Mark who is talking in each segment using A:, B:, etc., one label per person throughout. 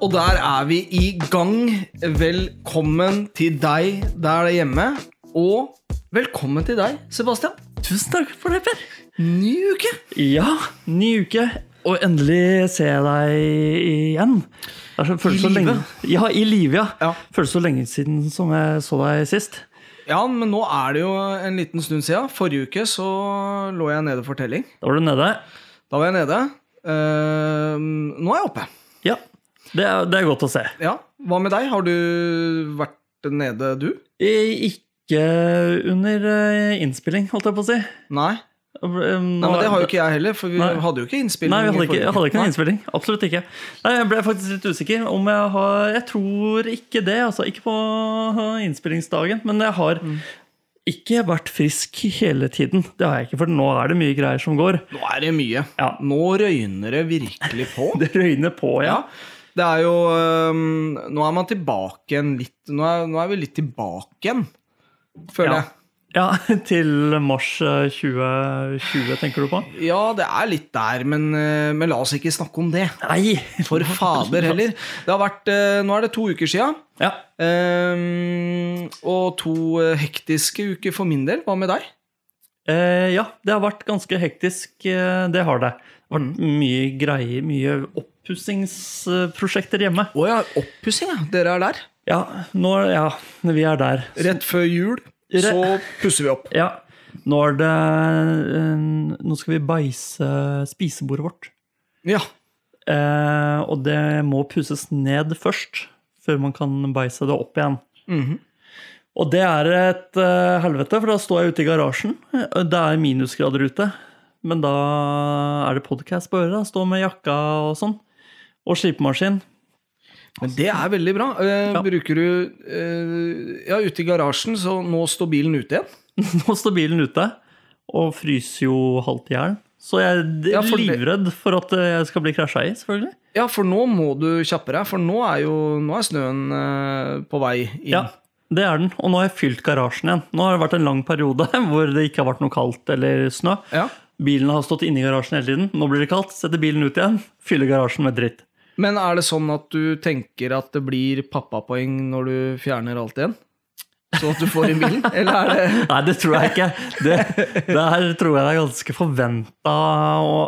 A: Og der er vi i gang. Velkommen til deg der hjemme. Og velkommen til deg, Sebastian.
B: Tusen takk for det, Per.
A: Ny uke!
B: Ja, ny uke. Og endelig ser jeg deg igjen. Det er så- føles
A: I
B: så
A: live?
B: lenge- Ja, i live, ja.
A: Ja.
B: Føles så lenge siden som jeg så deg sist.
A: Ja, men nå er det jo en liten stund siden. Forrige uke så lå jeg nede for telling.
B: Da var du nede.
A: Da var jeg nede. Eh, nå er jeg oppe.
B: Ja, det er, det er godt å se.
A: Ja, Hva med deg? Har du vært nede, du?
B: I- Ikke under eh, innspilling, holdt jeg på å si.
A: Nei. Nei, men Det har jo ikke jeg heller, for vi
B: Nei.
A: hadde jo ikke innspilling.
B: Nei, vi hadde
A: i
B: ikke,
A: forrige
B: jeg hadde
A: uke.
B: ikke noen innspilling. Absolutt ikke. Nei, jeg ble faktisk litt usikker. Om jeg, har, jeg tror ikke det. Altså, ikke på øh, innspillingsdagen. Men jeg har ikke vært frisk hele tiden. Det har jeg ikke, for nå er det mye greier som går.
A: Nå er det mye.
B: Ja.
A: Nå røyner det virkelig på.
B: Det røyner på, ja.
A: Ja. Det er jo øhm, Nå er man tilbake igjen litt Nå er, nå er vi litt tilbake igjen, føler
B: Ja. Ja, Til mars øh, 2020, tenker du på?
A: jeg. Ja, det er litt der, men, øh, men la oss ikke snakke om det.
B: Nei!
A: For fader heller. Det har vært, øh, nå er det to uker sia.
B: Ja.
A: og to øh, hektiske uker for min del. Hva med deg?
B: Eh, ja, det har vært ganske hektisk. eh, Det har det. Det har vært mye greier, mye oppussingsprosjekter hjemme.
A: Å ja, oppussing, ja. Dere er der.
B: Ja, nå, ja, vi er der.
A: Rett før jul
B: Re-
A: så pusser vi opp.
B: Ja, nå er det eh, Nå skal vi beise spisebordet vårt.
A: Ja.
B: Eh, og det må pusses ned først, før man kan beise det opp igjen.
A: Mhm.
B: Og det er et eh, helvete, for da står jeg ute i garasjen. Eh, Det er minusgrader ute. Men da er det podkast på øret. da. Stå med jakka og sånn. Og slipemaskin.
A: Men det er veldig bra. Eh,
B: Ja.
A: Bruker du eh, Ja, ute i garasjen, så nå står bilen ute igjen.
B: Nå står bilen ute, og fryser jo halvt i hjel. Så jeg er
A: Ja, for det-
B: livredd for at eh, jeg skal bli krasja i, selvfølgelig.
A: Ja, for nå må du kjappe deg, for nå er jo nå er snøen eh, på vei inn.
B: Ja, det er den. Og nå har jeg fylt garasjen igjen. Nå har det vært en lang periode hvor det ikke har vært noe kaldt eller snø.
A: Ja.
B: Bilen har stått inni garasjen hele tiden. Nå blir det kaldt. Setter bilen ut igjen. Fyller garasjen med dritt.
A: Men er det sånn at du tenker at det blir pappapoeng når du fjerner alt igjen? Sånn at du får inn bilen? Eller er det
B: Nei, det tror jeg ikke. Det, der tror jeg det er ganske forventa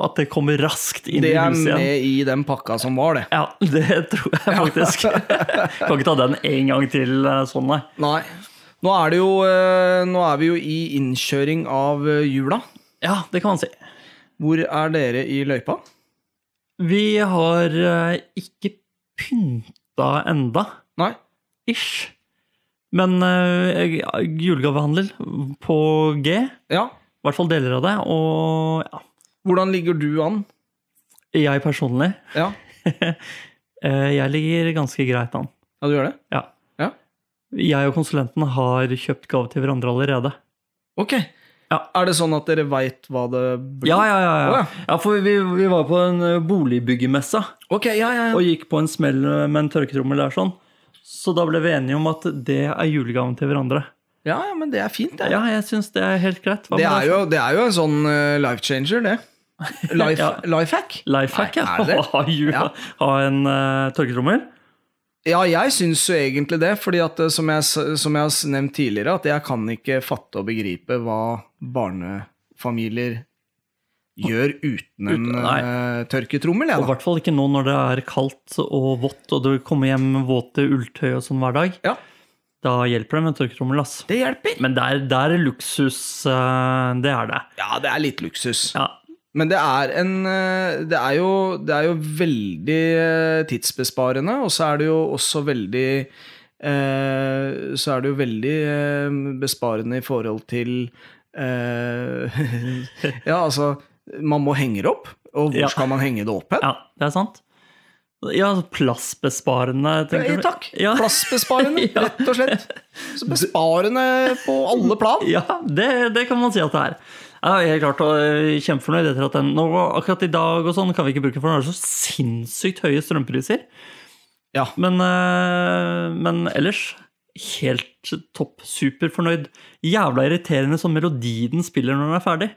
B: at det kommer raskt inn
A: Det
B: i
A: er
B: huset igjen.
A: med i den pakka som var, det.
B: Ja, det tror jeg faktisk. Kan ikke ta den en gang til eh, sånn, nei.
A: Nei. Nå er, det jo, eh, nå er vi jo i innkjøring av eh, jula.
B: Ja, det kan man si.
A: Hvor er dere i løypa?
B: Vi har eh, ikke pynta enda.
A: Nei?
B: ish. Men eh, julegavehandel på G, i
A: Ja.
B: hvert fall deler av det, og ja,
A: Hvordan ligger du an?
B: jeg personlig,
A: Ja,
B: eh, jeg ligger ganske greit an.
A: ja du gjør det?
B: Ja.
A: Ja.
B: Jeg og konsulenten har kjøpt gave til hverandre allerede.
A: Ok.
B: Ja.
A: Er det sånn at dere veit hva det blir?
B: Ja, ja, ja. ja.
A: Å,
B: ja for vi, vi var på en eh, boligbyggemesse
A: Ok, ja, ja, ja.
B: og gikk på en smell med en tørketrommel der sånn. Så da ble vi enige om at det er julegaven til hverandre.
A: Ja, ja, men det er fint, det.
B: Ja, jeg syns det er helt greit. Hva
A: Det
B: med
A: er
B: deg?
A: jo, det er jo en sånn eh, life changer, det. Life,
B: Ja.
A: Lifehack?
B: Lifehack, ja.
A: Nei, er det?
B: Ha, jul-
A: Ja.
B: ha en eh, tørketrommel.
A: Ja, jeg syns jo egentlig det. fordi at eh, som jeg, s- som jeg har s- nevnt tidligere, at jeg kan ikke fatte og begripe hva barnefamilier gjør uten en
B: Uten-
A: eh, tørketrommel.
B: Og i
A: Jeg, da.
B: hvert fall ikke nå når det er kaldt og vått, og du kommer hjem med våte ulltøy og sånn hver dag.
A: Ja,
B: Da hjelper det med tørketrommel, ass.
A: det hjelper.
B: Men det er, det er luksus, eh, det er det.
A: Ja, det er litt luksus.
B: Ja,
A: Men det er en eh, Det er jo, det er jo veldig eh, tidsbesparende, og så er det jo også veldig eh, Så er det jo veldig eh, besparende i forhold til eh, Ja, altså Man må henge det opp. Og hvor
B: Ja.
A: skal man henge det opp hen?
B: ja det er sant. Ja, altså, plassbesparende, tenker
A: Eh,
B: du.
A: Takk!
B: Ja,
A: Plassbesparende,
B: Ja.
A: rett og slett. Så besparende på alle plan.
B: ja det, det kan man si at det er. Jeg er helt klart eh, kjempefornøyd etter at den nå, Akkurat i dag og sånn kan vi ikke bruke, for nå er det så sinnssykt høye strømpriser.
A: Ja.
B: Men, eh, men ellers helt topp. Superfornøyd. Jævla irriterende sånn melodi den spiller når den er ferdig.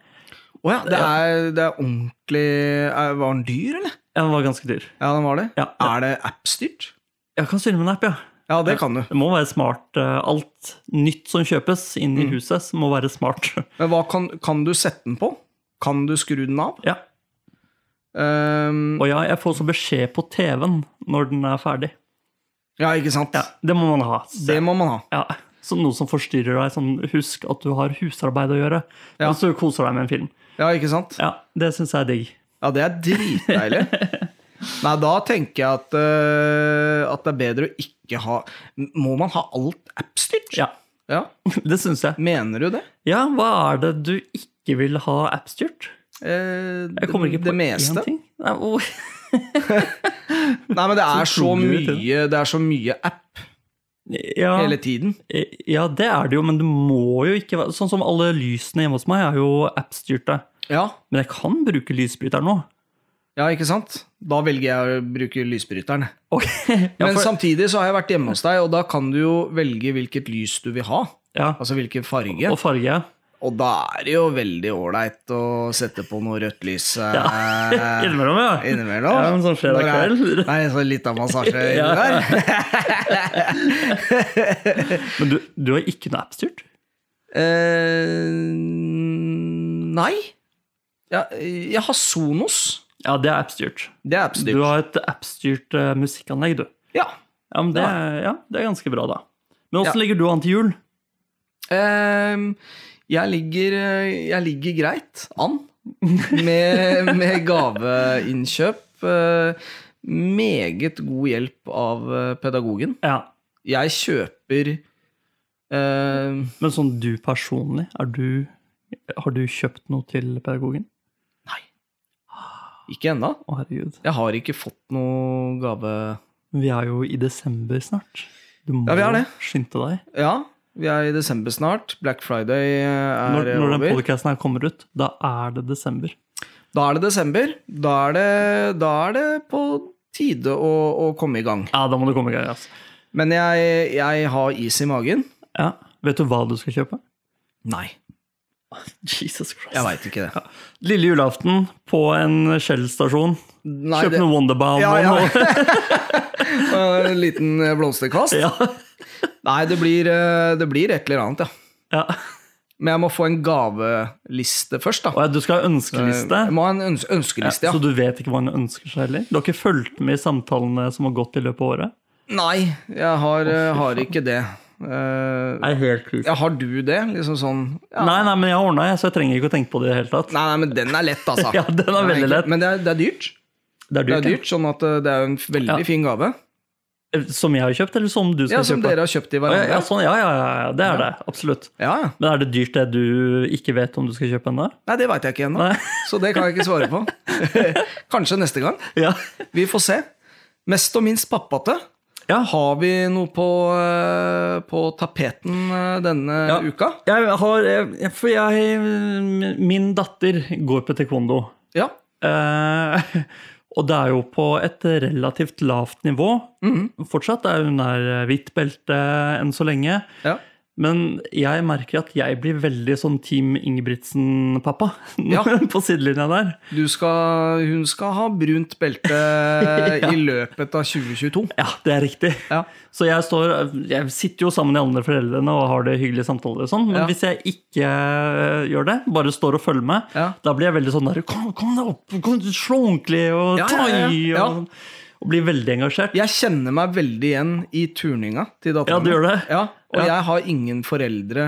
A: Å ja, det er, det er ordentlig er- eh, Var den dyr, eller?
B: Ja, den var ganske dyr.
A: Ja, den var det.
B: Ja.
A: Er det app-styrt?
B: Jeg kan styre med en app, ja.
A: Ja, det kan du.
B: Det må være smart. eh, Alt nytt som kjøpes inn
A: Mm.
B: i huset, så må være smart.
A: Men hva kan, kan du sette den på? Kan du skru den av?
B: Ja.
A: Ehm,
B: Og ja, jeg får også beskjed på TV-en når den er ferdig.
A: ja, ikke sant?
B: Ja, Det må man ha. Så,
A: Det må man ha.
B: ja. så noe som forstyrrer deg. Sånn, husk at du har husarbeid å gjøre,
A: Ja.
B: og så koser du deg med en film.
A: Ja, ikke sant?
B: Ja, Det syns jeg er digg.
A: Ja, det er dritdeilig. Nei, da tenker jeg at, eh, at det er bedre å ikke ha Må man ha alt app-styrt?
B: Ja,
A: Ja.
B: det syns jeg.
A: Mener du det?
B: Ja, hva er det du ikke vil ha appstyrt?
A: Eh,
B: Jeg kommer ikke på
A: det meste.
B: én ting. Nei, hvor-
A: Nei, men det er så
B: Så utrolig
A: mye, det er så mye app
B: Ja,
A: hele tiden.
B: ja, det er det jo, men det må jo ikke være Sånn som alle lysene hjemme hos meg er jo appstyrte.
A: Ja,
B: Men jeg kan bruke lysbryter nå.
A: ja ikke sant? Da velger jeg å bruke lysbryteren.
B: Ok, ja,
A: Men
B: for,
A: samtidig så har jeg vært hjemme hos deg, og da kan du jo velge hvilket lys du vil ha.
B: ja,
A: Altså hvilken farge.
B: og farge. ja.
A: Og da er det jo veldig ålreit å sette på noe rødt lys eh,
B: Innimellom, ja.
A: innimellom.
B: Ja, men sånn fredag
A: Når det er-
B: kveld.
A: Det er en sånn litt av massasje inni
B: Ja.
A: der.
B: Men du, du har ikke noe appstyrt?
A: Eh, nei. Ja, jeg har Sonos.
B: Ja, det er appstyrt.
A: Det er appstyrt.
B: Du har et appstyrt eh, musikkanlegg, du.
A: Ja.
B: Ja, men det, er- ja, det er ganske bra, da. Men åssen
A: Ja.
B: ligger du an til jul?
A: Ehm, jeg, ligger, eh, jeg ligger greit an med, med gaveinnkjøp. Eh, meget god hjelp av eh, pedagogen.
B: Ja,
A: Jeg kjøper ehm,
B: Men sånn du personlig, er du, har du kjøpt noe til pedagogen?
A: Ikke ennå.
B: Å, herregud.
A: Jeg har ikke fått noe gave
B: Vi er jo i desember snart. Du må
A: Ja, vi er det.
B: skynde deg.
A: Ja, vi er i desember snart. Black Friday eh, er
B: Når, når den
A: over.
B: podcasten her kommer ut, da er det desember.
A: Da er det desember. Da er det, da er det på tide å, å komme i gang.
B: Ja, da må du komme i gang, altså.
A: Men jeg, jeg har is i magen.
B: Ja. Vet du hva du skal kjøpe?
A: Nei.
B: Jesus Christ.
A: Jeg veit ikke det.
B: Lille julaften på en Shell-stasjon.
A: Nei,
B: Kjøp
A: det-
B: noe Wonderbound.
A: Ja,
B: og
A: ja.
B: noe-
A: Og En liten blomsterkast?
B: ja.
A: Nei, det blir, eh, det blir et eller annet, ja.
B: ja.
A: Men jeg må få en gaveliste først,
B: Og
A: da.
B: ja, du skal ha ønskeliste.
A: Jeg Eh, må ha en øns ønskeliste,
B: Så
A: ja.
B: du vet ikke hva hun ønsker seg heller? Du har ikke fulgt med i samtalene som har gått i løpet av året?
A: Nei, jeg har, eh, har ikke det. Eh,
B: Er helt sjukt.
A: Ja, har du det? Liksom sånn ja.
B: Nei, nei, men jeg har ordna, så jeg trenger ikke å tenke på det i det hele tatt.
A: Nei, nei, men den er lett, altså.
B: Ja, den er veldig lett.
A: Men det er, det er dyrt.
B: Det er
A: Det
B: dyrt.
A: er dyrt, sånn at eh, det er jo en veldig
B: Ja.
A: fin gave.
B: ja. Eh, Som jeg har kjøpt, eller som du skal
A: Ja, Som
B: kjøpe?
A: dere har kjøpt i
B: Å, ja, ja,
A: hverandre.
B: sånn, ja, ja, ja, ja, det er det. Absolutt.
A: Ja, ja.
B: Men er det dyrt det du ikke vet om du skal kjøpe ennå?
A: Nei, det veit jeg ikke ennå.
B: Nei.
A: Så det kan jeg ikke svare på. Kanskje neste gang.
B: Ja.
A: Vi får se. Mest og minst pappate.
B: Ja.
A: Har vi noe på, eh, på tapeten eh, denne
B: Ja.
A: uka?
B: Jeg har jeg- For jeg Min datter går på taekwondo.
A: Ja.
B: Eh, og det er jo på et relativt lavt nivå
A: Mhm.
B: fortsatt. Er hun er hvitt belte enn så lenge.
A: Ja.
B: Men jeg merker at jeg blir veldig sånn Team Ingebrigtsen-pappa
A: Ja.
B: på sidelinja der.
A: Du skal, hun skal ha brunt belte i løpet av 2022.
B: Ja, det er riktig.
A: Ja.
B: Så jeg, står, jeg sitter jo sammen med de andre foreldrene og har det hyggelige samtaler og sånn, men
A: Ja.
B: hvis jeg ikke øh, gjør det, bare står og følger med,
A: Ja.
B: da blir jeg veldig sånn der Kom, kom deg opp! Kom, slå ordentlig! Og
A: Ja,
B: ta
A: ja, ja,
B: i!
A: ja.
B: Og, sånn.» og blir veldig engasjert.
A: Jeg kjenner meg veldig igjen i turninga til dattera
B: Ja, du gjør det?
A: Ja, og
B: Ja.
A: jeg har ingen foreldre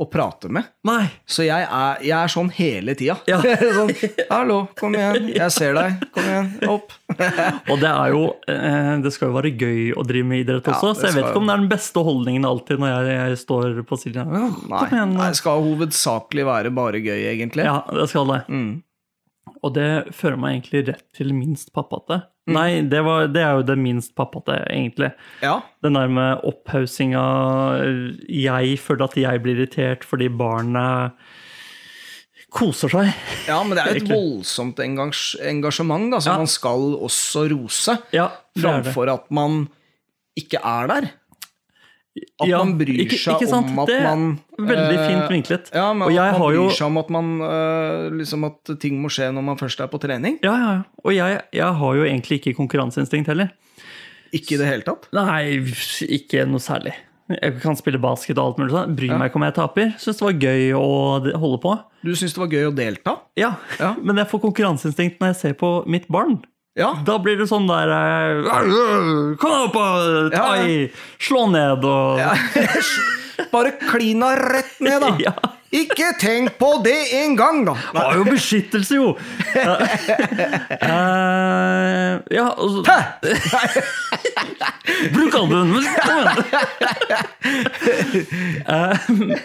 A: å prate med.
B: Nei!
A: Så jeg er, jeg er sånn hele tida.
B: Ja.
A: sånn, 'Hallo, kom igjen. Jeg ser deg. Kom igjen. Opp.'
B: Og det er jo eh, Det skal jo være gøy å drive med idrett også,
A: det
B: så jeg vet
A: skal
B: ikke om det er den beste holdningen alltid når jeg, jeg står på siden. her. «Åh,
A: Nei,
B: Kom igjen.
A: nei, skal hovedsakelig være bare gøy, egentlig.
B: Ja, det skal det.
A: Mm.
B: Og det fører meg egentlig rett til minst pappate.
A: Mm.
B: Nei, det, var, det er jo det minst pappate, egentlig.
A: ja.
B: Den der med opphausinga Jeg føler at jeg blir irritert fordi barnet koser seg.
A: Ja, men det er jo et
B: Egentlig.
A: voldsomt engasj engasjement, da, som
B: Ja.
A: man skal også rose.
B: Ja, det er det.
A: Framfor at man ikke er der. At
B: Ja,
A: man bryr
B: ikke-
A: seg
B: ikke sant?
A: om at
B: Det er
A: man
B: Veldig
A: eh,
B: fint vinklet.
A: Ja, men
B: Og
A: at
B: jeg
A: man
B: har
A: bryr
B: jo-
A: seg om at, man, eh, liksom at ting må skje når man først er på trening.
B: Ja, ja. ja. Og jeg, jeg har jo egentlig ikke konkurranseinstinkt heller.
A: Ikke i det hele tatt.
B: Nei, ikke noe særlig. Jeg kan spille basket og alt mulig sånn. Bryr meg ikke om jeg taper. Syns det var gøy å d- holde på.
A: Du syns det var gøy å delta?
B: Ja.
A: Ja.
B: Men jeg får konkurranseinstinkt når jeg ser på mitt barn.
A: Ja.
B: Da blir det sånn der eh, Kom deg opp og ta
A: Ja,
B: i! Slå ned og
A: Bare klina rett ned, da!
B: Ja.
A: Ikke tenk på det en gang, da!
B: Det var jo beskyttelse, jo! Eh, ja, og så
A: Hæ?
B: Bruk albuen! men Kom igjen! Eh,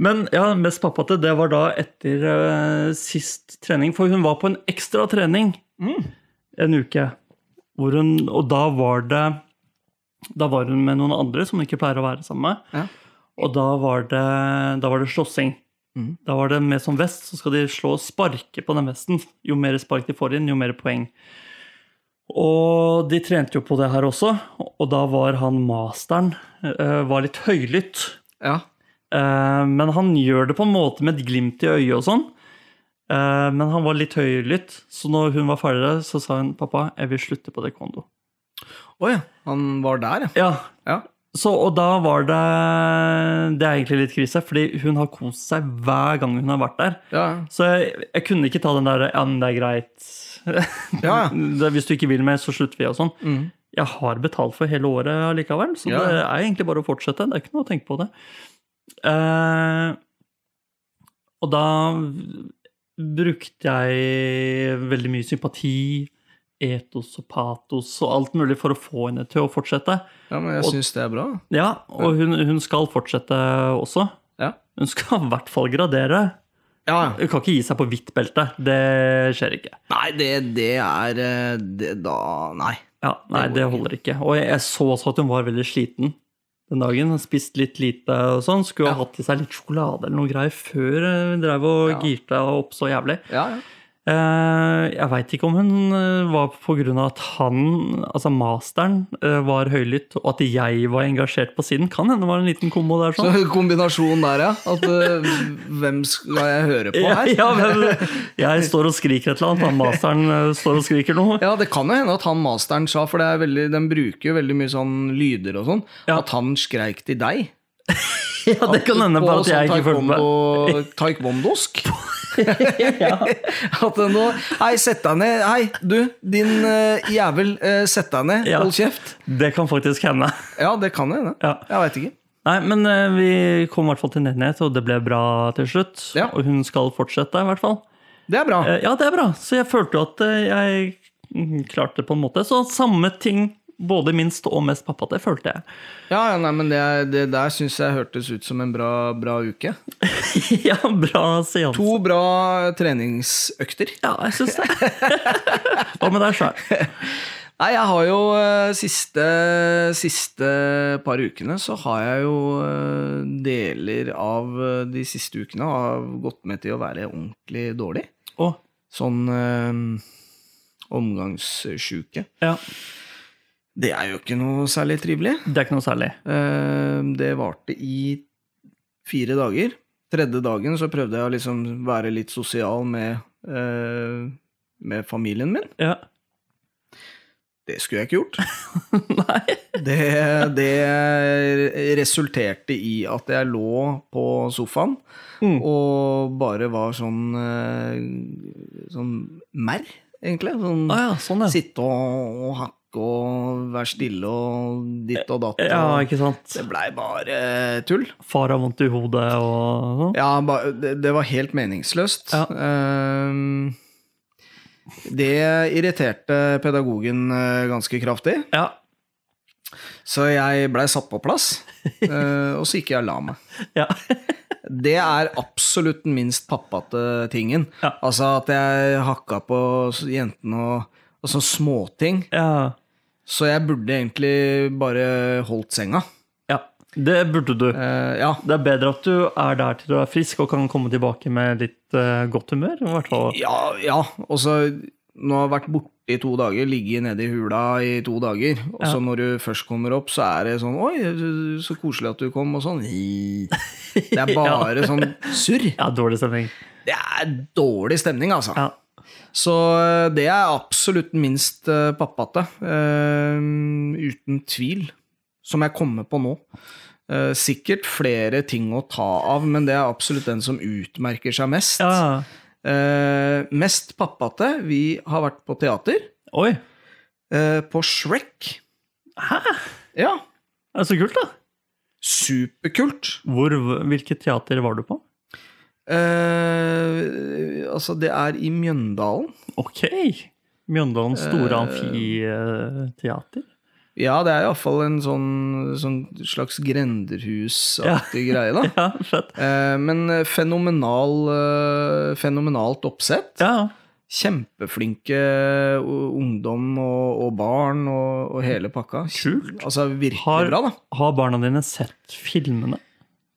B: Men ja, mest pappate, det var da etter eh, sist trening. For hun var på en ekstra trening en uke. Hvor hun, og da var det Da var hun med noen andre som hun ikke pleier å være sammen med.
A: Ja.
B: Og da var det, da var det slåssing.
A: Mhm.
B: Da var det med som vest, så skal de slå og sparke på den vesten. Jo mer spark de får inn, jo mer poeng. Og de trente jo på det her også, og da var han masteren eh, var litt høylytt.
A: Ja.
B: Eh, men han gjør det på en måte med et glimt i øyet og sånn. Eh, men han var litt høylytt, så når hun var ferdig, der, så sa hun 'pappa, jeg vil slutte på taekwondo'.
A: Å ja. Han var der, ja.
B: Ja,
A: ja.
B: så, og da var det Det er egentlig litt krise, fordi hun har kost seg hver gang hun har vært der.
A: Ja,
B: Så jeg, jeg kunne ikke ta den der 'ja, men det er greit'.
A: ja.
B: Det- Hvis du ikke vil mer, så slutter vi og sånn.
A: Mm.
B: jeg har betalt for hele året allikevel, så
A: Ja.
B: det er egentlig bare å fortsette. Det er ikke noe å tenke på det. Eh, og da brukte jeg veldig mye sympati, etos og patos og alt mulig for å få henne til å fortsette.
A: ja men jeg
B: Og-
A: syns det er bra. da.
B: Ja, og hun, hun skal fortsette også.
A: Ja.
B: Hun skal i hvert fall gradere.
A: Ja, ja.
B: Hun kan ikke gi seg på hvitt belte. Det skjer ikke.
A: Nei, det, det er eh, det, Da Nei.
B: Ja, Nei,
A: går
B: det holder ikke. Og jeg, jeg så også at hun var veldig sliten den dagen. Hun spist litt lite og sånn. Skulle
A: Ja.
B: ha hatt i seg litt sjokolade eller noe greier før eh, hun drev og
A: Ja.
B: girte opp så jævlig.
A: Ja, ja.
B: Eh, jeg veit ikke om hun eh, var på grunn av at han, altså masteren, eh, var høylytt, og at jeg var engasjert på siden. Kan hende det var en liten kombo der.
A: Så
B: sånn.
A: kombinasjonen der, ja. At eh, hvem skal jeg høre på
B: Ja,
A: her?
B: ja, men jeg står og skriker et eller annet, han masteren eh, står og skriker noe.
A: Ja, det kan jo hende at han masteren sa, for det er veldig, den bruker jo veldig mye sånn lyder og sånn,
B: Ja.
A: at han skreik til deg. sånn
B: Ja, det kan hende bare at jeg ikke følte meg
A: med. Taekwondosk. At det nå Hei, sett deg ned. Hei, du, din eh, jævel. eh, sett deg ned.
B: Ja.
A: Hold kjeft.
B: Det kan faktisk hende.
A: Ja, det kan hende.
B: Ja.
A: Jeg veit ikke.
B: Nei, men eh, vi kom i hvert fall til en enighet, og det ble bra til slutt.
A: Ja.
B: Og hun skal fortsette, i hvert fall.
A: Det er bra.
B: Eh, Ja, det er bra. Så jeg følte jo at eh, jeg mm, klarte det på en måte. Så samme ting, både minst og mest pappa, det følte jeg.
A: Ja, ja, nei, men det, det der syns jeg hørtes ut som en bra, bra uke.
B: ja, bra seanse.
A: To bra treningsøkter.
B: Ja, jeg syns det. Hva med deg sjøl?
A: Nei, jeg har jo eh, siste, siste par ukene så har jeg jo eh, deler av eh, de siste ukene har gått med til å være ordentlig dårlig.
B: Å,
A: Sånn eh, omgangssjuke.
B: ja.
A: Det er jo ikke noe særlig trivelig.
B: Det er ikke noe særlig.
A: Eh, Det varte i fire dager. Tredje dagen så prøvde jeg å liksom være litt sosial med, eh, med familien min.
B: Ja.
A: Det skulle jeg ikke gjort.
B: Nei.
A: Det, det resulterte i at jeg lå på sofaen
B: Mm.
A: og bare var sånn eh, Sånn merr, egentlig. Sånn,
B: Å ja, sånn, ja.
A: Sitte og, og hakke og være stille og ditt og datt.
B: Ja,
A: og-
B: ikke sant.
A: Det blei bare tull.
B: Far har vondt i hodet og sånn.
A: Ja, ba- det, det var helt meningsløst.
B: Ja.
A: Ehm, det irriterte pedagogen eh, ganske kraftig,
B: Ja.
A: så jeg blei satt på plass. eh, og så gikk jeg og la meg.
B: ja.
A: Det er absolutt den minst pappate tingen.
B: Ja.
A: Altså at jeg hakka på s- jentene og, og sånne småting.
B: ja.
A: Så jeg burde egentlig bare holdt senga.
B: ja. Det burde du.
A: Eh, ja,
B: Det er bedre at du er der til du er frisk og kan komme tilbake med litt eh, godt humør. I hvert fall.
A: Ja, ja. og så nå har jeg vært borte i to dager, ligget nede i hula i to dager, og så når du først kommer opp, så er det sånn Oi, så koselig at du kom, og sånn. Hi. Det er bare sånn surr.
B: Ja, dårlig stemning.
A: Det er dårlig stemning, altså.
B: Ja.
A: Så eh, det er absolutt minst eh, pappate. eh, uten tvil. Som jeg kommer på nå. Eh, sikkert flere ting å ta av, men det er absolutt den som utmerker seg mest.
B: ja.
A: Eh, mest pappate. Vi har vært på teater.
B: Oi.
A: eh, på Shrek.
B: Hæ?
A: Ja.
B: Det er så kult, da.
A: Superkult.
B: Hvor, hvilket teater var du på?
A: Eh, altså, det er i Mjøndalen.
B: Ok. Mjøndalens store
A: Eh.
B: amfiteater.
A: Ja, det er iallfall en sånn, sånn slags grenderhusaktig greie, da.
B: Ja, fett.
A: Eh, men fenomenal, eh, fenomenalt oppsett.
B: Ja,
A: Kjempeflinke o- ungdom og, og barn og, og hele pakka.
B: Kult.
A: Altså virkelig
B: Har-
A: bra, da.
B: Har barna dine sett filmene?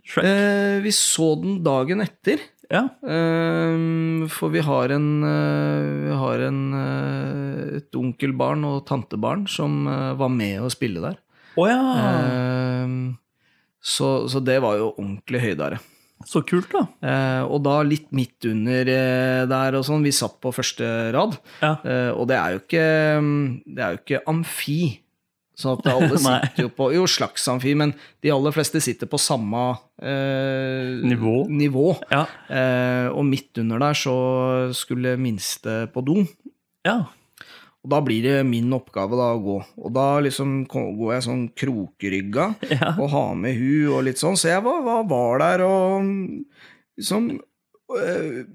B: Shrek?
A: Eh, vi så den dagen etter,
B: Ja.
A: eh, for vi har en, eh, vi har en eh, et onkelbarn og tantebarn som eh, var med å spille der.
B: Å ja.
A: Eh, så, så det var jo ordentlig høydare.
B: Så kult, da.
A: Eh, og da litt midt under eh, der og sånn. Vi satt på første rad.
B: Ja.
A: Eh, og det er jo ikke, mm, det er jo ikke amfi. Sånn at alle
B: Nei.
A: sitter jo på Jo, slags amfi, men de aller fleste sitter på samme eh,
B: Nivå.
A: nivå.
B: Ja.
A: Eh, og midt under der så skulle minste på do.
B: ja.
A: Og da blir det min oppgave da å gå. Og da liksom ko- går jeg sånn krokrygga
B: Ja.
A: og har med hu og litt sånn. Så jeg var, var, var der og mm, liksom øh,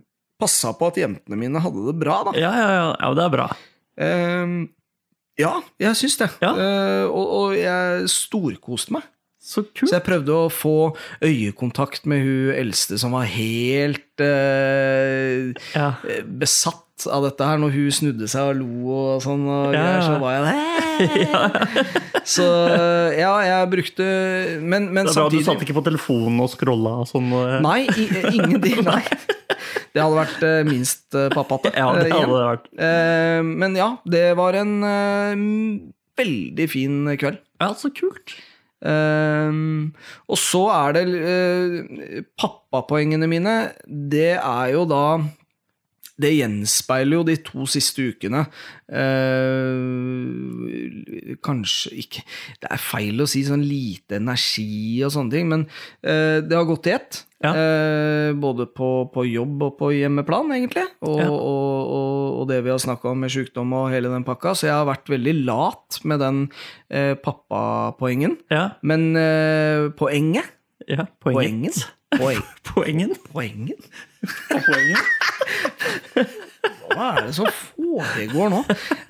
A: passa på at jentene mine hadde det bra, da.
B: Ja, ja, ja. ja, det er bra.
A: Ehm, ja, jeg syns det.
B: Ja.
A: Eh, og, og jeg storkoste meg.
B: Så
A: Så
B: kult.
A: jeg prøvde å få øyekontakt med hun eldste som var helt eh,
B: Ja.
A: eh, besatt av dette her, når hun snudde seg og lo og sånn, og
B: Ja.
A: greier, så var jeg sånn, Så eh, ja, jeg brukte Men, men
B: Det er bra du
A: samtidig
B: satt ikke på telefonen og scrolla og sånn. eh.
A: Nei, i, ingenting. Nei. Det hadde vært eh, minst eh, pappate.
B: Ja,
A: eh,
B: det
A: igjen.
B: hadde det vært.
A: Eh, men ja, det var en eh, veldig fin kveld.
B: Ja, så kult.
A: Ehm, og så er det eh, Pappapoengene mine, det er jo da Det gjenspeiler jo de to siste ukene. Eh, kanskje ikke Det er feil å si sånn lite energi og sånne ting, men eh, det har gått i ett.
B: Ja.
A: Eh, både på, på jobb og på hjemmeplan, egentlig. Og,
B: Ja.
A: og, og, og det vi har snakka om med sjukdom og hele den pakka. Så jeg har vært veldig lat med den eh, pappapoengen.
B: Ja,
A: Men eh, poenget
B: ja. Poenget.
A: Poengen? Poeng.
B: Poengen.
A: Poengen?
B: Poengen.
A: Hva er det som foregår nå?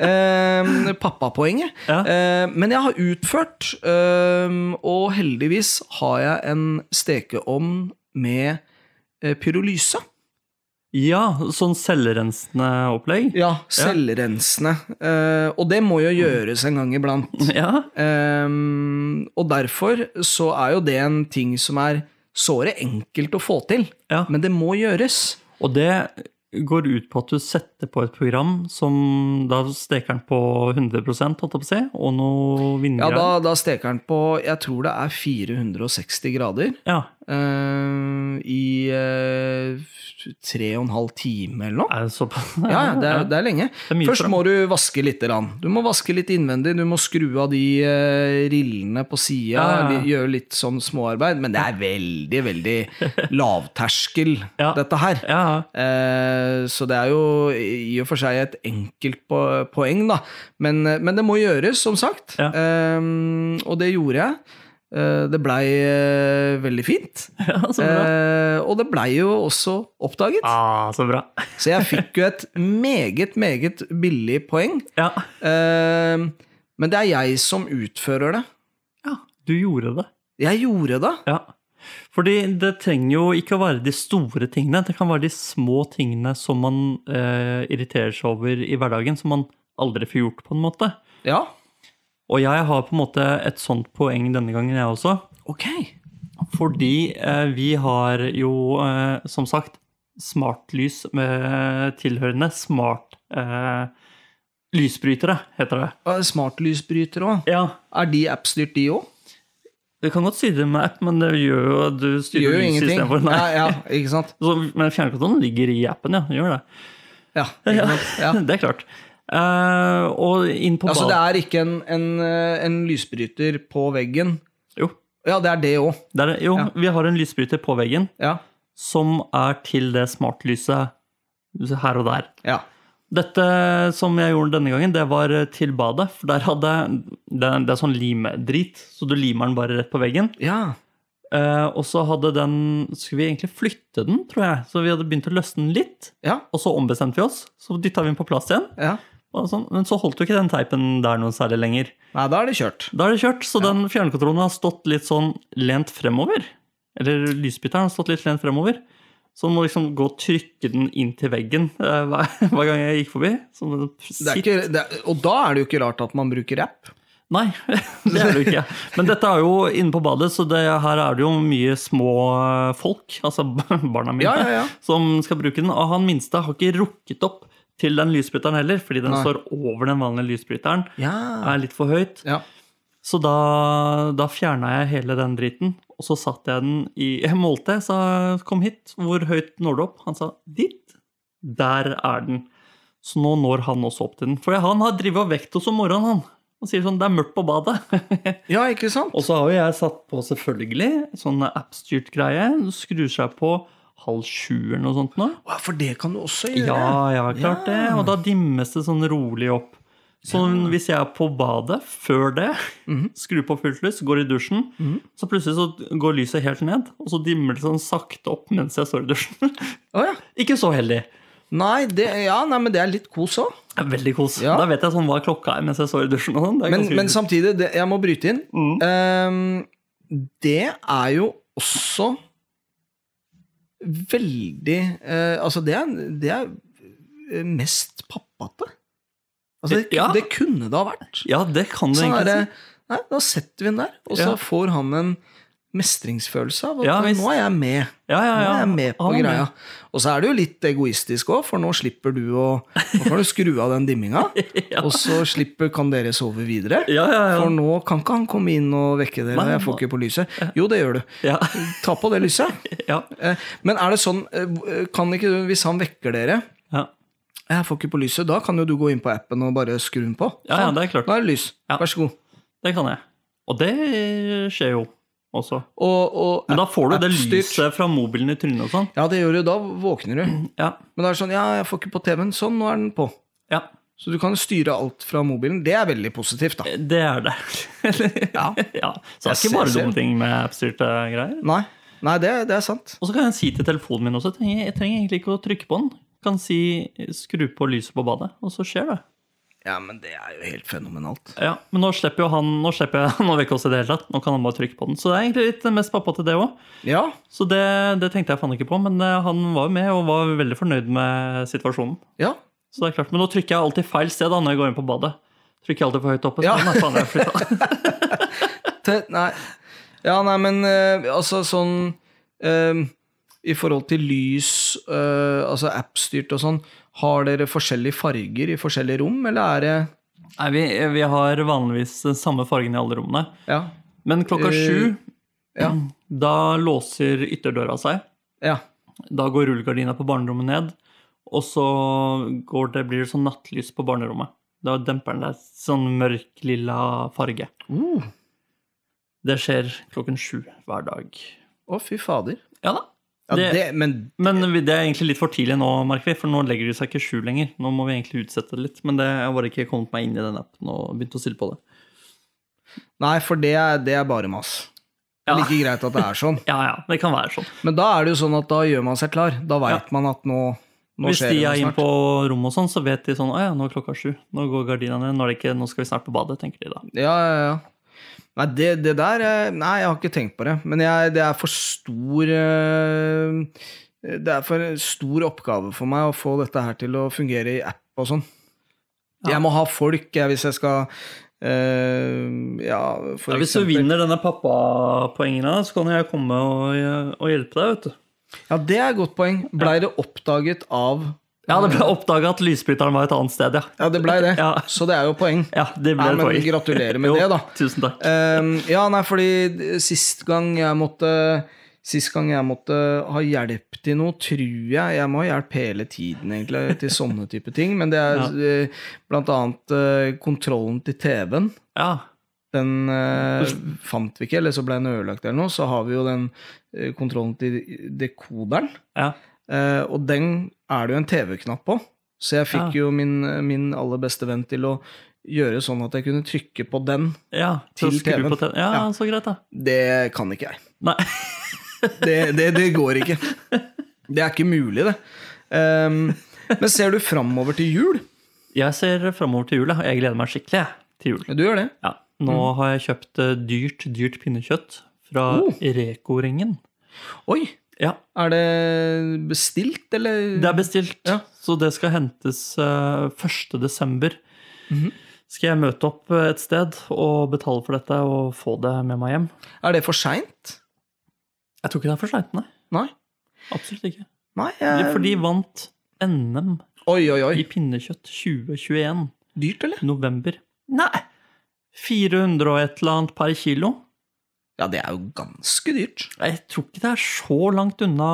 A: Eh, pappapoenget.
B: Ja.
A: Eh, men jeg har utført, eh, og heldigvis har jeg en stekeovn med eh, pyrolyse.
B: Ja, sånn selvrensende opplegg.
A: Ja, selvrensende. Eh, og det må jo gjøres en gang iblant.
B: Ja.
A: Ehm, og derfor så er jo det en ting som er såre enkelt å få til,
B: Ja.
A: men det må gjøres.
B: Og det går ut på at du setter på et program som da steker den på 100 holdt jeg på å si, og noe
A: Ja,
B: vindgreier.
A: da, da steker den på Jeg tror det er 460 grader
B: Ja,
A: ehm, i eh, tre og en halv time eller noe.
B: er det såpass?
A: Ja, ja, det er, det er lenge.
B: er mye
A: Først
B: strøm.
A: må du vaske litt. Du må vaske litt innvendig, du må skru av de eh, rillene på sida,
B: Ja, ja, ja.
A: li- gjøre litt sånn småarbeid. Men det er veldig, veldig lavterskel,
B: Ja.
A: dette her.
B: Ja,
A: Eh, Så det er jo i og for seg et enkelt po- poeng, da. Men, men det må gjøres, som sagt.
B: Ja.
A: Eh, Og det gjorde jeg. Eh, Det blei eh, veldig fint.
B: ja, så bra.
A: Eh, Og det blei jo også oppdaget.
B: Ah, så bra.
A: Så jeg fikk jo et meget, meget billig poeng.
B: Ja.
A: Eh, Men det er jeg som utfører det.
B: ja, du gjorde det.
A: Jeg gjorde det.
B: Ja. Fordi det trenger jo ikke å være de store tingene, det kan være de små tingene som man eh, irriterer seg over i hverdagen, som man aldri får gjort, på en måte.
A: Ja.
B: Og jeg har på en måte et sånt poeng denne gangen, jeg også.
A: Ok.
B: Fordi eh, vi har jo, eh, som sagt, smartlys med tilhørende smart eh, lysbrytere, heter det.
A: Og Smartlysbrytere òg.
B: Ja,
A: Er de appstyrt, de òg?
B: Du kan godt styre det med app, men det gjør jo at du styrer
A: Gjør jo
B: lyset
A: ingenting.
B: istedenfor.
A: Ja,
B: Nei.
A: ja, ikke sant?
B: Så, men fjernkontrollen ligger i appen, ja. Gjør det.
A: Ja, ikke
B: Ja.
A: sant? ja.
B: det er klart. Eh, og inn på
A: Altså, det
B: badet
A: er ikke en, en, eh, en lysbryter på veggen.
B: Jo,
A: Ja, det er det òg.
B: det er, det. jo
A: Ja.
B: vi har en lysbryter på veggen
A: Ja.
B: som er til det smartlyset her og der.
A: ja.
B: Dette som jeg gjorde denne gangen, det var til badet. For der hadde Det, det er sånn limdrit, så du limer den bare rett på veggen.
A: ja.
B: Eh, og så hadde den Skulle vi egentlig flytte den, tror jeg. Så vi hadde begynt å løsne den litt.
A: Ja.
B: Og så ombestemte vi oss. Så dytta vi den på plass igjen.
A: ja.
B: Og sånn. Men så holdt jo ikke den teipen der noe særlig lenger.
A: Nei, da er det kjørt.
B: Da er det kjørt, så den fjernkontrollen har stått litt sånn lent fremover. Eller lysbytteren har stått litt lent fremover. Så man må liksom gå og trykke den inn til veggen eh, hver, hver gang jeg gikk forbi. Så må du
A: Det er
B: sitte-
A: ikke, det er, og da er det jo ikke rart at man bruker app.
B: Nei, det er det jo ikke. Men dette er jo inne på badet, så det, her er det jo mye små folk, altså barna mine,
A: Ja, ja, ja.
B: som skal bruke den. Og han minste har ikke rukket opp til den lysbryteren heller, fordi den
A: Nei.
B: står over den vanlige lysbryteren.
A: Ja.
B: Er litt for høyt.
A: ja.
B: Så da, da fjerna jeg hele den driten, og så satte jeg den i Jeg målte, jeg sa 'kom hit', hvor høyt når du opp? Han sa 'dit'. Der er den. Så nå når han også opp til den. For han har drevet og vekt oss om morgenen, han. Han sier sånn 'det er mørkt på badet'.
A: ja, ikke sant?
B: og så har jo jeg satt på selvfølgelig sånn appstyrt greie. Du Skrur seg på halv sju eller noe sånt nå.
A: Å, For det kan du også gjøre.
B: Ja, ja, klart
A: Ja.
B: det. Og da dimmes det sånn rolig opp. Så hvis jeg er på badet før det,
A: Mhm.
B: skrur på fullt lys, går i dusjen, så plutselig så går lyset helt ned, og så dimmer det sånn sakte opp mens jeg står i dusjen.
A: Å, ja.
B: Ikke så heldig.
A: Nei, det, ja, nei, men det er litt kos òg.
B: Det er Veldig kos.
A: Ja.
B: Da vet jeg sånn hva klokka er mens jeg står i dusjen. og sånn. Det er
A: Men,
B: ganske-
A: men samtidig, det, jeg må bryte inn.
B: Mm.
A: Ehm, det er jo også veldig eh, Altså, det er, det er mest pappate. Altså, det,
B: Ja.
A: det kunne det ha vært.
B: Ja, det kan du
A: Sånn
B: egentlig
A: er det,
B: si.
A: nei, da setter vi den der, og så
B: Ja.
A: får han en mestringsfølelse av at
B: Ja, visst.
A: nå er jeg med.
B: Ja, ja,
A: Nå
B: ja. Ah,
A: er jeg med på
B: Han er med.
A: greia. Og så er det jo litt egoistisk òg, for nå slipper du å Nå kan du skru av den dimminga,
B: Ja.
A: og så slipper kan dere sove videre.
B: Ja, ja, ja.
A: For nå kan ikke han komme inn og vekke dere.
B: Nei,
A: jeg får
B: nå-
A: ikke på lyset. Jo, det gjør du.
B: Ja,
A: Ta på det lyset.
B: ja,
A: Eh, Men er det sånn eh, Kan ikke du, hvis han vekker dere
B: ja.
A: Jeg får ikke på lyset, da kan jo du gå inn på appen og bare skru den på.
B: ja, ja
A: Sånn.
B: det er klart.
A: Nå er det lys.
B: Ja.
A: Vær så god.
B: Det kan jeg. Og det skjer jo også.
A: Og, og
B: Men da får du det
A: Appstyrt.
B: lyset fra mobilen i trynet og sånn.
A: Ja, det gjør du. Da våkner du.
B: Ja,
A: Men da er det sånn Ja, jeg får ikke på TV-en. Sånn, nå er den på.
B: ja.
A: Så du kan styre alt fra mobilen. Det er veldig positivt, da.
B: Det er det.
A: Ja.
B: ja. Så det er
A: Jeg
B: ikke bare
A: ser-
B: dumme ting med appstyrte greier.
A: Nei, Nei det, det er sant.
B: Og så kan jeg si til telefonen min også, jeg trenger, jeg trenger egentlig ikke å trykke på den. Kan si skru på lyset på badet, og så skjer det.
A: Ja, men det er jo helt fenomenalt.
B: Ja, Men nå slipper jo han nå slipper jeg han å vekke oss i det hele tatt. Nå kan han bare trykke på den. Så det er egentlig litt mest pappa til det òg.
A: Ja,
B: Så det, det tenkte jeg faen ikke på, men eh, han var jo med og var veldig fornøyd med situasjonen.
A: ja.
B: Så det er klart, Men nå trykker jeg alltid feil sted da når jeg går inn på badet. Trykker jeg alltid for høyt oppe. Så
A: Ja.
B: nei, faen, jeg flytta.
A: Te, nei. Ja, nei, men eh, altså sånn eh, I forhold til lys, eh, altså appstyrt og sånn, har dere forskjellige farger i forskjellige rom, eller er det
B: Nei, vi, vi har vanligvis den samme fargen i alle rommene.
A: Ja.
B: Men klokka
A: Eh,
B: sju,
A: ja.
B: da låser ytterdøra seg.
A: ja.
B: Da går rullegardina på barnerommet ned. Og så går det, blir det sånn nattlys på barnerommet. Da demper den deg sånn mørk lilla farge.
A: Uh,
B: Det skjer klokken sju hver dag.
A: å, fy fader.
B: Ja da.
A: Ja, det,
B: Det-
A: men
B: Men vi- det er egentlig litt for tidlig nå, merker vi, for nå legger de seg ikke sju lenger. Nå må vi egentlig utsette det litt, men det, jeg har bare ikke kommet meg inn i den appen og begynt å stille på det.
A: Nei, for det er, det er bare mas. Det
B: Ja.
A: er Like greit at det er sånn.
B: Ja, ja, det kan være sånn.
A: Men da er det jo sånn at da gjør man seg klar. Da veit man at nå, nå
B: Hvis
A: skjer
B: de
A: det
B: er
A: noe
B: inne
A: snart.
B: på rommet og sånn, så vet de sånn Å ja, nå er klokka sju. Nå går gardina ned. Nå, er det ikke, nå skal vi snart på badet, tenker de da.
A: Ja, ja, ja. Nei, det, det der eh, Nei, jeg har ikke tenkt på det. Men jeg, det er for stor eh, Det er for stor oppgave for meg å få dette her til å fungere i app og sånn.
B: Ja.
A: Jeg må ha folk jeg, hvis jeg skal eh, Ja, for
B: Ja, hvis du
A: eksempel.
B: vinner denne pappapoengene, så kan jeg komme og, og hjelpe deg, vet du.
A: Ja, det er et godt poeng. Blei det oppdaget av
B: Ja, det ble oppdaga at lysbryteren var et annet sted, ja.
A: Ja, det blei det.
B: Ja.
A: Så det er jo poeng.
B: Ja, det ble
A: Nei,
B: et
A: men
B: poeng.
A: gratulerer med
B: Jo,
A: det, da.
B: Tusen takk.
A: Ehm, ja, nei, fordi sist gang jeg måtte Sist gang jeg måtte ha hjelp til noe, tror jeg Jeg må ha hjelp hele tiden, egentlig, til sånne type ting. Men det er eh, blant annet eh, kontrollen til TV-en.
B: Ja.
A: Den eh, fant vi ikke, eller så ble den ødelagt eller noe. Så har vi jo den eh, kontrollen til dekoderen.
B: ja.
A: Eh, og den er det jo en TV-knapp på. Så jeg fikk jo min, min aller beste venn til å gjøre sånn at jeg kunne trykke på den.
B: Ja, til
A: Til
B: TV-en.
A: TV-en.
B: På TV. Ja,
A: Ja.
B: så greit, da.
A: Det kan ikke jeg.
B: Nei.
A: Det, det, det går ikke. Det er ikke mulig, det. Ehm, men ser du framover til jul?
B: Jeg ser framover til jul, ja. Jeg gleder meg skikkelig jeg, til jul.
A: Du gjør det.
B: Ja. Nå har jeg kjøpt eh, dyrt, dyrt pinnekjøtt fra
A: Mm. Oh.
B: Reko-ringen.
A: Oi!
B: Ja,
A: Er det bestilt, eller?
B: det er bestilt,
A: Ja.
B: så det skal hentes eh, 1. desember. Mhm. Skal jeg møte opp eh, et sted og betale for dette og få det med meg hjem?
A: Er det for seint?
B: Jeg tror ikke det er for seint, nei.
A: Nei?
B: Absolutt ikke.
A: Nei jeg...
B: For de vant NM
A: Oi, oi, oi.
B: i pinnekjøtt 2021,
A: Dyrt, eller?
B: november. Nei! 400 og et eller annet per kilo.
A: Ja, det er jo ganske dyrt.
B: Jeg tror ikke det er så langt unna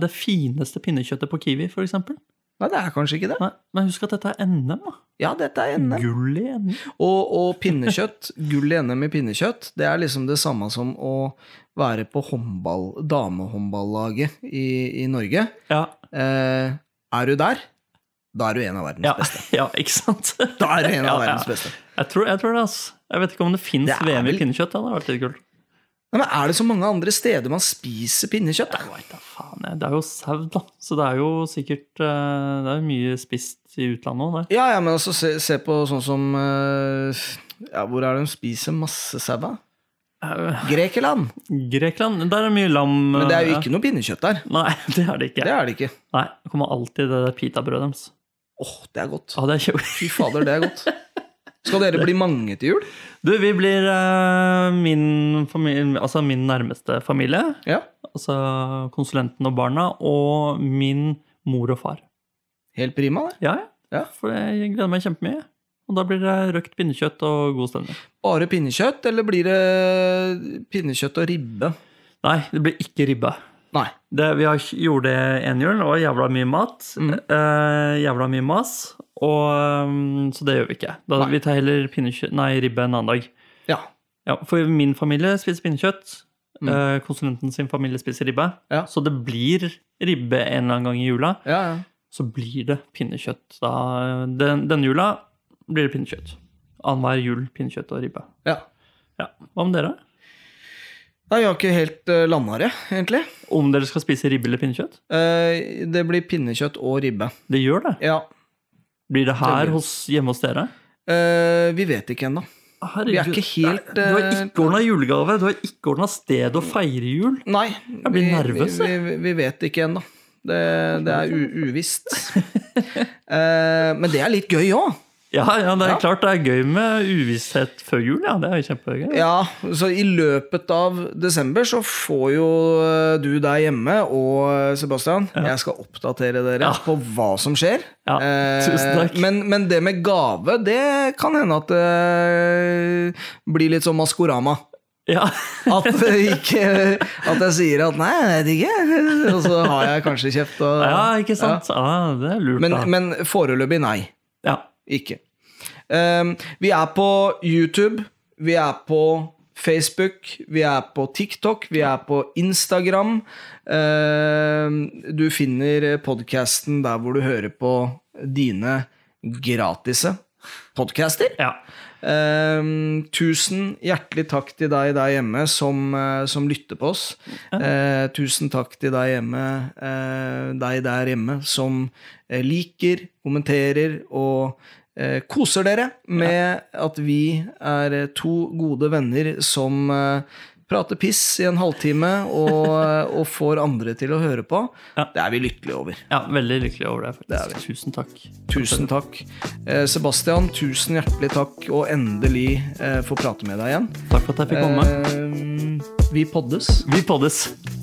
B: det fineste pinnekjøttet på Kiwi, f.eks.
A: Nei, det er kanskje ikke det.
B: Men husk at dette er NM, da.
A: Ja, dette er NM.
B: Gull i NM.
A: Og, og pinnekjøtt, gull i NM i pinnekjøtt, det er liksom det samme som å være på håndball, damehåndballaget i, i Norge.
B: Ja,
A: Eh, er du der, da er du en av verdens
B: ja,
A: beste.
B: ja, ikke sant?
A: Da er du en av
B: Ja, ja.
A: verdens beste.
B: Jeg tror, jeg tror det, altså. Jeg vet ikke om det fins
A: Det er
B: VM i
A: vel-
B: pinnekjøtt. Det hadde vært litt kult.
A: Nei, men er det så mange andre steder man spiser pinnekjøtt?
B: Jeg
A: Da?
B: vet da faen, jeg. Det er jo sau, da. Så det er jo sikkert eh, Det er jo mye spist i utlandet òg, det.
A: Ja, ja, men altså, se, se på sånn som eh, ja, Hvor er det de spiser masse sau? da?
B: Eh,
A: Grekeland.
B: Grekland, der er mye lam.
A: Men det er jo
B: eh,
A: ikke noe pinnekjøtt der.
B: Nei, det er det ikke.
A: Det er det ikke.
B: Nei, Det kommer alltid det der pitabrødet deres.
A: Åh, det er godt.
B: Ja, det er kjempe-
A: Fy fader, det er godt. Skal dere bli mange til jul?
B: Du, vi blir eh, min, familie, altså min nærmeste familie,
A: Ja.
B: altså konsulenten og barna, og min mor og far.
A: Helt prima, det.
B: Ja,
A: Ja.
B: for jeg gleder meg kjempemye. Og da blir det røkt pinnekjøtt og god stemning.
A: Bare pinnekjøtt, eller blir det pinnekjøtt og ribbe?
B: Nei, det blir ikke ribbe.
A: Nei.
B: Det, vi har gjorde det en jul, og jævla mye mat.
A: Mm.
B: Eh, jævla mye mas. Og, eh, så det gjør vi ikke. Da,
A: Nei.
B: vi tar heller pinnekjø- nei, ribbe en annen dag.
A: Ja.
B: Ja, for min familie spiser pinnekjøtt.
A: Mm.
B: eh, Konsulenten sin familie spiser ribbe.
A: Ja.
B: Så det blir ribbe en eller annen gang i jula.
A: Ja, ja.
B: Så blir det pinnekjøtt da. Den, denne jula blir det pinnekjøtt. Annenhver jul pinnekjøtt og ribbe.
A: ja.
B: Ja. Hva med dere?
A: Nei, jeg har ikke helt uh, landa det, egentlig.
B: Om dere skal spise ribbe eller pinnekjøtt?
A: Eh, det blir pinnekjøtt og ribbe.
B: Det gjør det.
A: Ja.
B: Blir det her
A: Veldig.
B: hos, hjemme hos dere?
A: Eh, vi vet ikke ennå.
B: Ah, Herregud.
A: Vi er ikke helt,
B: Nei, Du har
A: eh,
B: ikke ordna julegave, du har ikke ordna sted å feire jul.
A: Nei.
B: Jeg blir
A: vi-
B: nervøs,
A: Vi, vi, vi vet ikke ennå. Det, det er u uvisst. Eh, men det er litt gøy òg.
B: Ja, ja, det er
A: Ja.
B: klart det er gøy med uvisshet før jul, ja. Det er jo kjempegøy.
A: Ja, så i løpet av desember så får jo eh, du deg hjemme og eh, Sebastian Jeg skal oppdatere dere
B: Ja.
A: på hva som skjer.
B: Ja,
A: Eh,
B: tusen takk.
A: Men, men det med gave, det kan hende at det blir litt sånn Maskorama.
B: Ja.
A: At, det ikke, at jeg sier at 'nei, jeg vet ikke', og så har jeg kanskje kjeft. Og,
B: ja, ikke sant? Ja. det er lurt,
A: Men,
B: da.
A: men foreløpig nei.
B: ja.
A: Ikke. Ehm, vi er på YouTube, vi er på Facebook, vi er på TikTok, vi er på Instagram. Ehm, du finner podkasten der hvor du hører på dine gratise podcaster.
B: ja.
A: Ehm, tusen hjertelig takk til deg der hjemme som, eh, som lytter på oss. Eh, tusen takk til deg hjemme, eh, deg der hjemme som eh, liker, kommenterer og eh, koser dere med at vi er eh, to gode venner som eh, prater piss i en halvtime og, eh, og får andre til å høre på.
B: Ja.
A: Det er vi lykkelige over.
B: ja, veldig lykkelig over det, faktisk.
A: Det er
B: Tusen takk.
A: Tusen takk. Eh, Sebastian, tusen hjertelig takk, og endelig eh, få prate med deg igjen.
B: Takk for at jeg fikk komme.
A: Eh, Ehm, vi poddes.
B: Vi poddes.